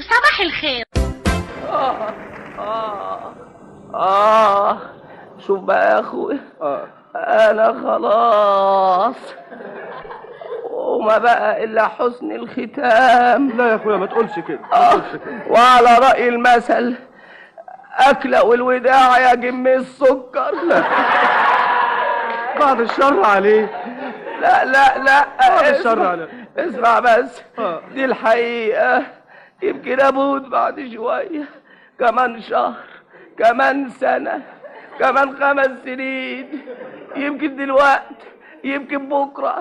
صباح الخير آه آه شوف بقى يا أخوي اه أنا خلاص وما بقى إلا حسن الختام لا يا اخويا ما تقولش كده ما آه تقولش كده وعلى رأي المثل أكلة والوداع يا جم السكر بعد الشر عليه لا لا لا بعد الشر اسمع- عليك. اسمع بس آه. دي الحقيقة يمكن أموت بعد شوية كمان شهر كمان سنة كمان خمس سنين يمكن دلوقتي يمكن بكرة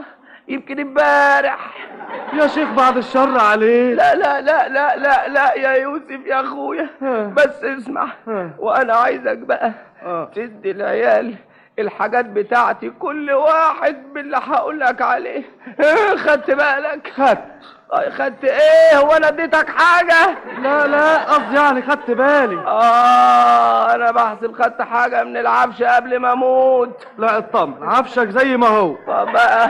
يمكن امبارح يا شيخ بعد الشر عليه لا لا لا لا لا لا يا يوسف يا اخويا آه. بس اسمع آه. وانا عايزك بقى آه. تدي العيال الحاجات بتاعتي كل واحد باللي هقول لك عليه خدت بالك خدت آه، خدت ايه هو انا اديتك حاجه لا لا قصدي يعني خدت بالي اه انا بحسب خدت حاجه من العفش قبل ما اموت لا اطمن عفشك زي ما هو طب بقى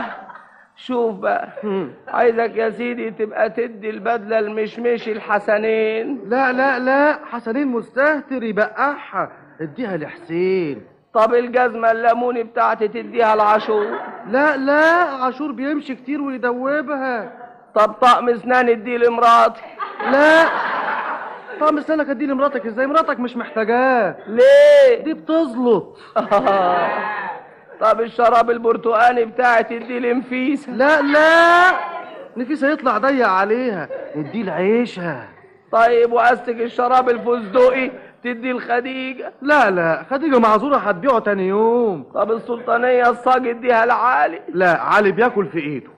شوف بقى مم. عايزك يا سيدي تبقى تدي البدله المشمشي الحسنين لا لا لا حسنين مستهتر يبقعها اديها لحسين طب الجزمة الليموني بتاعتي تديها العاشور لا لا عاشور بيمشي كتير ويدوبها طب طقم اسنان اديه لمراتي لا طعم اسنانك اديه لمراتك ازاي مراتك مش محتاجاه ليه؟ دي بتزلط طب الشراب البرتقاني بتاعي تديه لنفيسة لا لا نفيسة يطلع ضيق عليها اديه لعيشها طيب وأستك الشراب الفستقي تديه لخديجة لا لا خديجة معذورة هتبيعه تاني يوم طب السلطانية الصاج اديها لعالي لا علي بياكل في ايده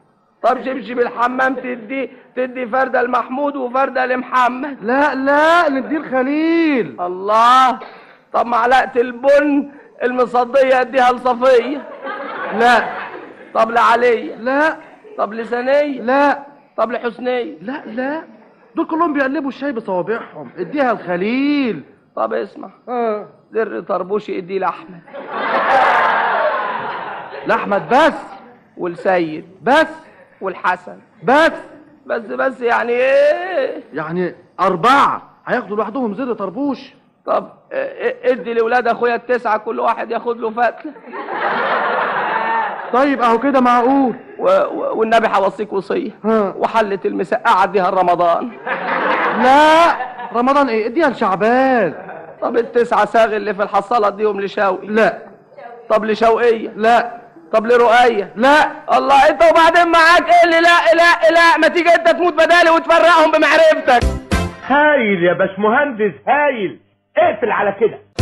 طب شبشب الحمام تديه تدي فردة لمحمود وفردة لمحمد لا لا نديه لخليل الله طب معلقة البن المصدية اديها لصفية لا طب لعلية لا طب لسنية لا طب لحسنية لا لا دول كلهم بيقلبوا الشاي بصوابعهم اديها لخليل طب اسمع اه زر طربوشي اديه لاحمد لاحمد بس والسيد بس والحسن بس بس بس يعني ايه يعني أربعة هياخدوا لوحدهم زر طربوش طب إيه- ادي لاولاد اخويا التسعه كل واحد ياخد له فتله طيب أهو كده معقول و... و... والنبي هوصيك وصيه ها. وحله المسقعه اديها لرمضان لا رمضان إيه اديها لشعبان طب التسعه ساغ اللي في الحصاله اديهم لشوقي لا طب لشوقيه لا طب لرؤيه لا الله انت وبعدين معاك ايه اللي لا لا لا ما تيجي انت تموت بدالي وتفرقهم بمعرفتك هايل يا باشمهندس هايل اقفل على كده